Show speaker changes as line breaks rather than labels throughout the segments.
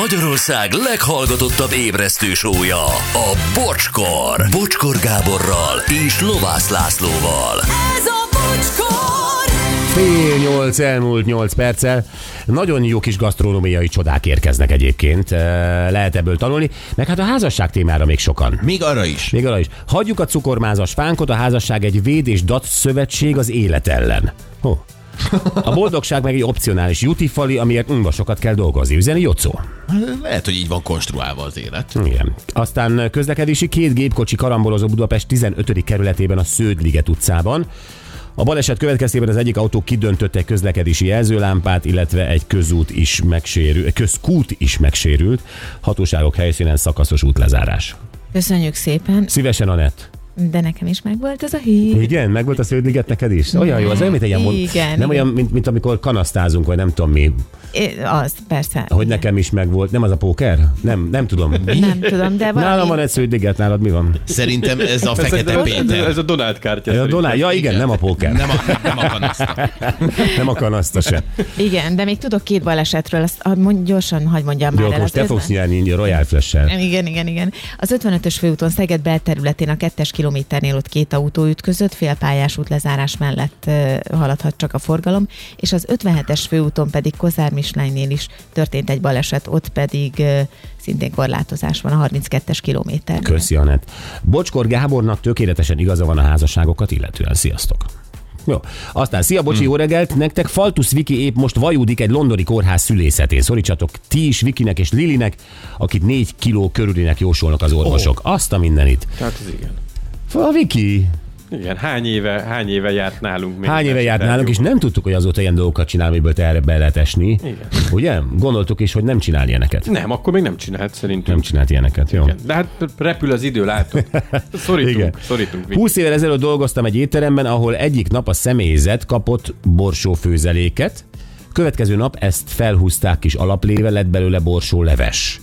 Magyarország leghallgatottabb ébresztő sója, a Bocskor. Bocskor Gáborral és Lovász Lászlóval.
Ez a bocskor!
Fél nyolc elmúlt nyolc perccel. Nagyon jó kis gasztronómiai csodák érkeznek egyébként. Eh, Lehet ebből tanulni. Meg hát a házasság témára még sokan.
Még arra is.
Még arra is. Hagyjuk a cukormázas fánkot, a házasság egy véd és dat szövetség az élet ellen. Hó. A boldogság meg egy opcionális jutifali, amiért unva sokat kell dolgozni. Üzeni Jocó.
Lehet, hogy így van konstruálva az élet.
Igen. Aztán közlekedési két gépkocsi karambolozó Budapest 15. kerületében a Sződliget utcában. A baleset következtében az egyik autó kidöntötte egy közlekedési jelzőlámpát, illetve egy közút is megsérült, közkút is megsérült. Hatóságok helyszínen szakaszos útlezárás.
Köszönjük szépen,
Szívesen, Anett.
de nekem is megvolt ez a hír.
Igen, meg volt a Sződliget neked is. Olyan jó, az olyan, mint egy ilyen mond-
Igen,
Nem
igen.
olyan, mint, mint, amikor kanasztázunk, vagy nem tudom mi.
É, Az, persze.
Hogy nekem is meg volt. Nem az a póker? Nem, nem tudom.
Nem tudom, de valami...
Nálam van egy Sződliget, nálad mi van?
Szerintem ez a Fekete
Ez, ez,
Péter.
ez a Donald kártya.
Ja,
szerintem.
Donál, ja igen, nem a póker.
Nem a, nem a kanaszta.
Nem a kanaszta se.
Igen, de még tudok két balesetről, azt ah, mond, gyorsan hagyd mondjam
Jó,
már
akkor
el.
most te
Az
fogsz
50
nyerni a Royal Flash-sel.
igen, igen, igen. Az 55-ös főúton Szeged belterületén a kettes kilométernél ott két autó ütközött, félpályás útlezárás mellett ö, haladhat csak a forgalom, és az 57-es főúton pedig Kozár Mislánynél is történt egy baleset, ott pedig ö, szintén korlátozás van a 32-es kilométer.
Köszi, Anett. Bocskor Gábornak tökéletesen igaza van a házasságokat, illetően sziasztok. Jó. Aztán szia, bocsi, jó reggelt! Nektek Faltusz Viki épp most vajúdik egy londoni kórház szülészetén. Szorítsatok ti is Vikinek és Lilinek, akit négy kiló körülinek jósolnak az orvosok. Oh. Azt a mindenit.
Hát ez igen.
A Viki
Igen, hány éve, hány éve járt nálunk még?
hány éve járt nálunk, és nem tudtuk, hogy azóta ilyen dolgokat csinál, amiből te erre be lehet esni. Igen. Ugye? Gondoltuk is, hogy nem csinál ilyeneket.
Nem, akkor még nem csinált szerintem.
Nem csinált ilyeneket, jó?
Igen. De hát repül az idő, látod. Szorítunk,
Igen.
szorítunk. Viki.
20 évvel ezelőtt dolgoztam egy étteremben, ahol egyik nap a személyzet kapott borsófőzeléket, következő nap ezt felhúzták kis alapléve, lett belőle borsó leves.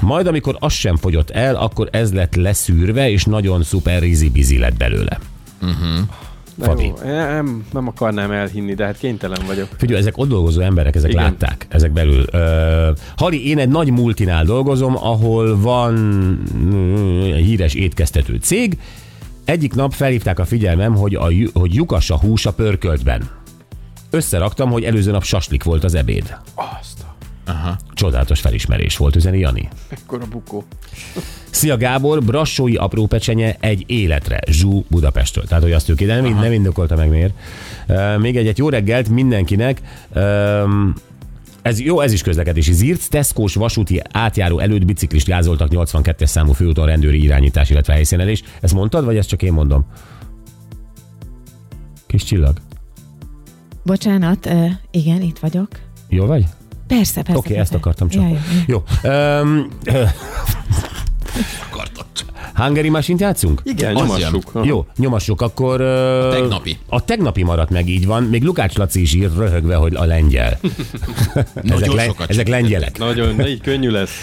Majd amikor az sem fogyott el, akkor ez lett leszűrve, és nagyon szuper rizibizi lett belőle.
De
Fabi.
jó, Nem, nem akarnám elhinni, de hát kénytelen vagyok.
Figyelj, ezek ott dolgozó emberek, ezek Igen.
Igen.
látták, ezek belül. Ö, Hali, én egy nagy multinál dolgozom, ahol van mm, egy híres étkeztető cég. Egyik nap felhívták a figyelmem, hogy, a, ju- hogy lyukas a hús a pörköltben. Összeraktam, hogy előző nap saslik volt az ebéd.
Azt a
Csodálatos felismerés volt, üzeni Jani.
mekkora bukó.
Szia Gábor, brassói apró pecsenye egy életre, Zsú Budapestről. Tehát, hogy azt ők ide nem, nem indokolta meg miért. E, még egyet jó reggelt mindenkinek. E, ez, jó, ez is közlekedési. Zirc Tesco-s vasúti átjáró előtt biciklist gázoltak 82-es számú főúton rendőri irányítás, illetve helyszínelés. Ezt mondtad, vagy ezt csak én mondom? Kis csillag.
Bocsánat, ö, igen, itt vagyok.
Jó vagy?
Persze, persze.
Oké, okay, ezt
persze.
akartam csak.
Jaj, jaj.
Jó. Um,
Kartott.
Hungary másint játszunk?
Igen,
Az
nyomassuk. Aha.
Jó, nyomassuk, akkor... A
tegnapi.
A tegnapi maradt meg, így van. Még Lukács Laci is ír röhögve, hogy a lengyel. ezek,
sokat
ezek lengyelek.
Nagyon, de így könnyű lesz.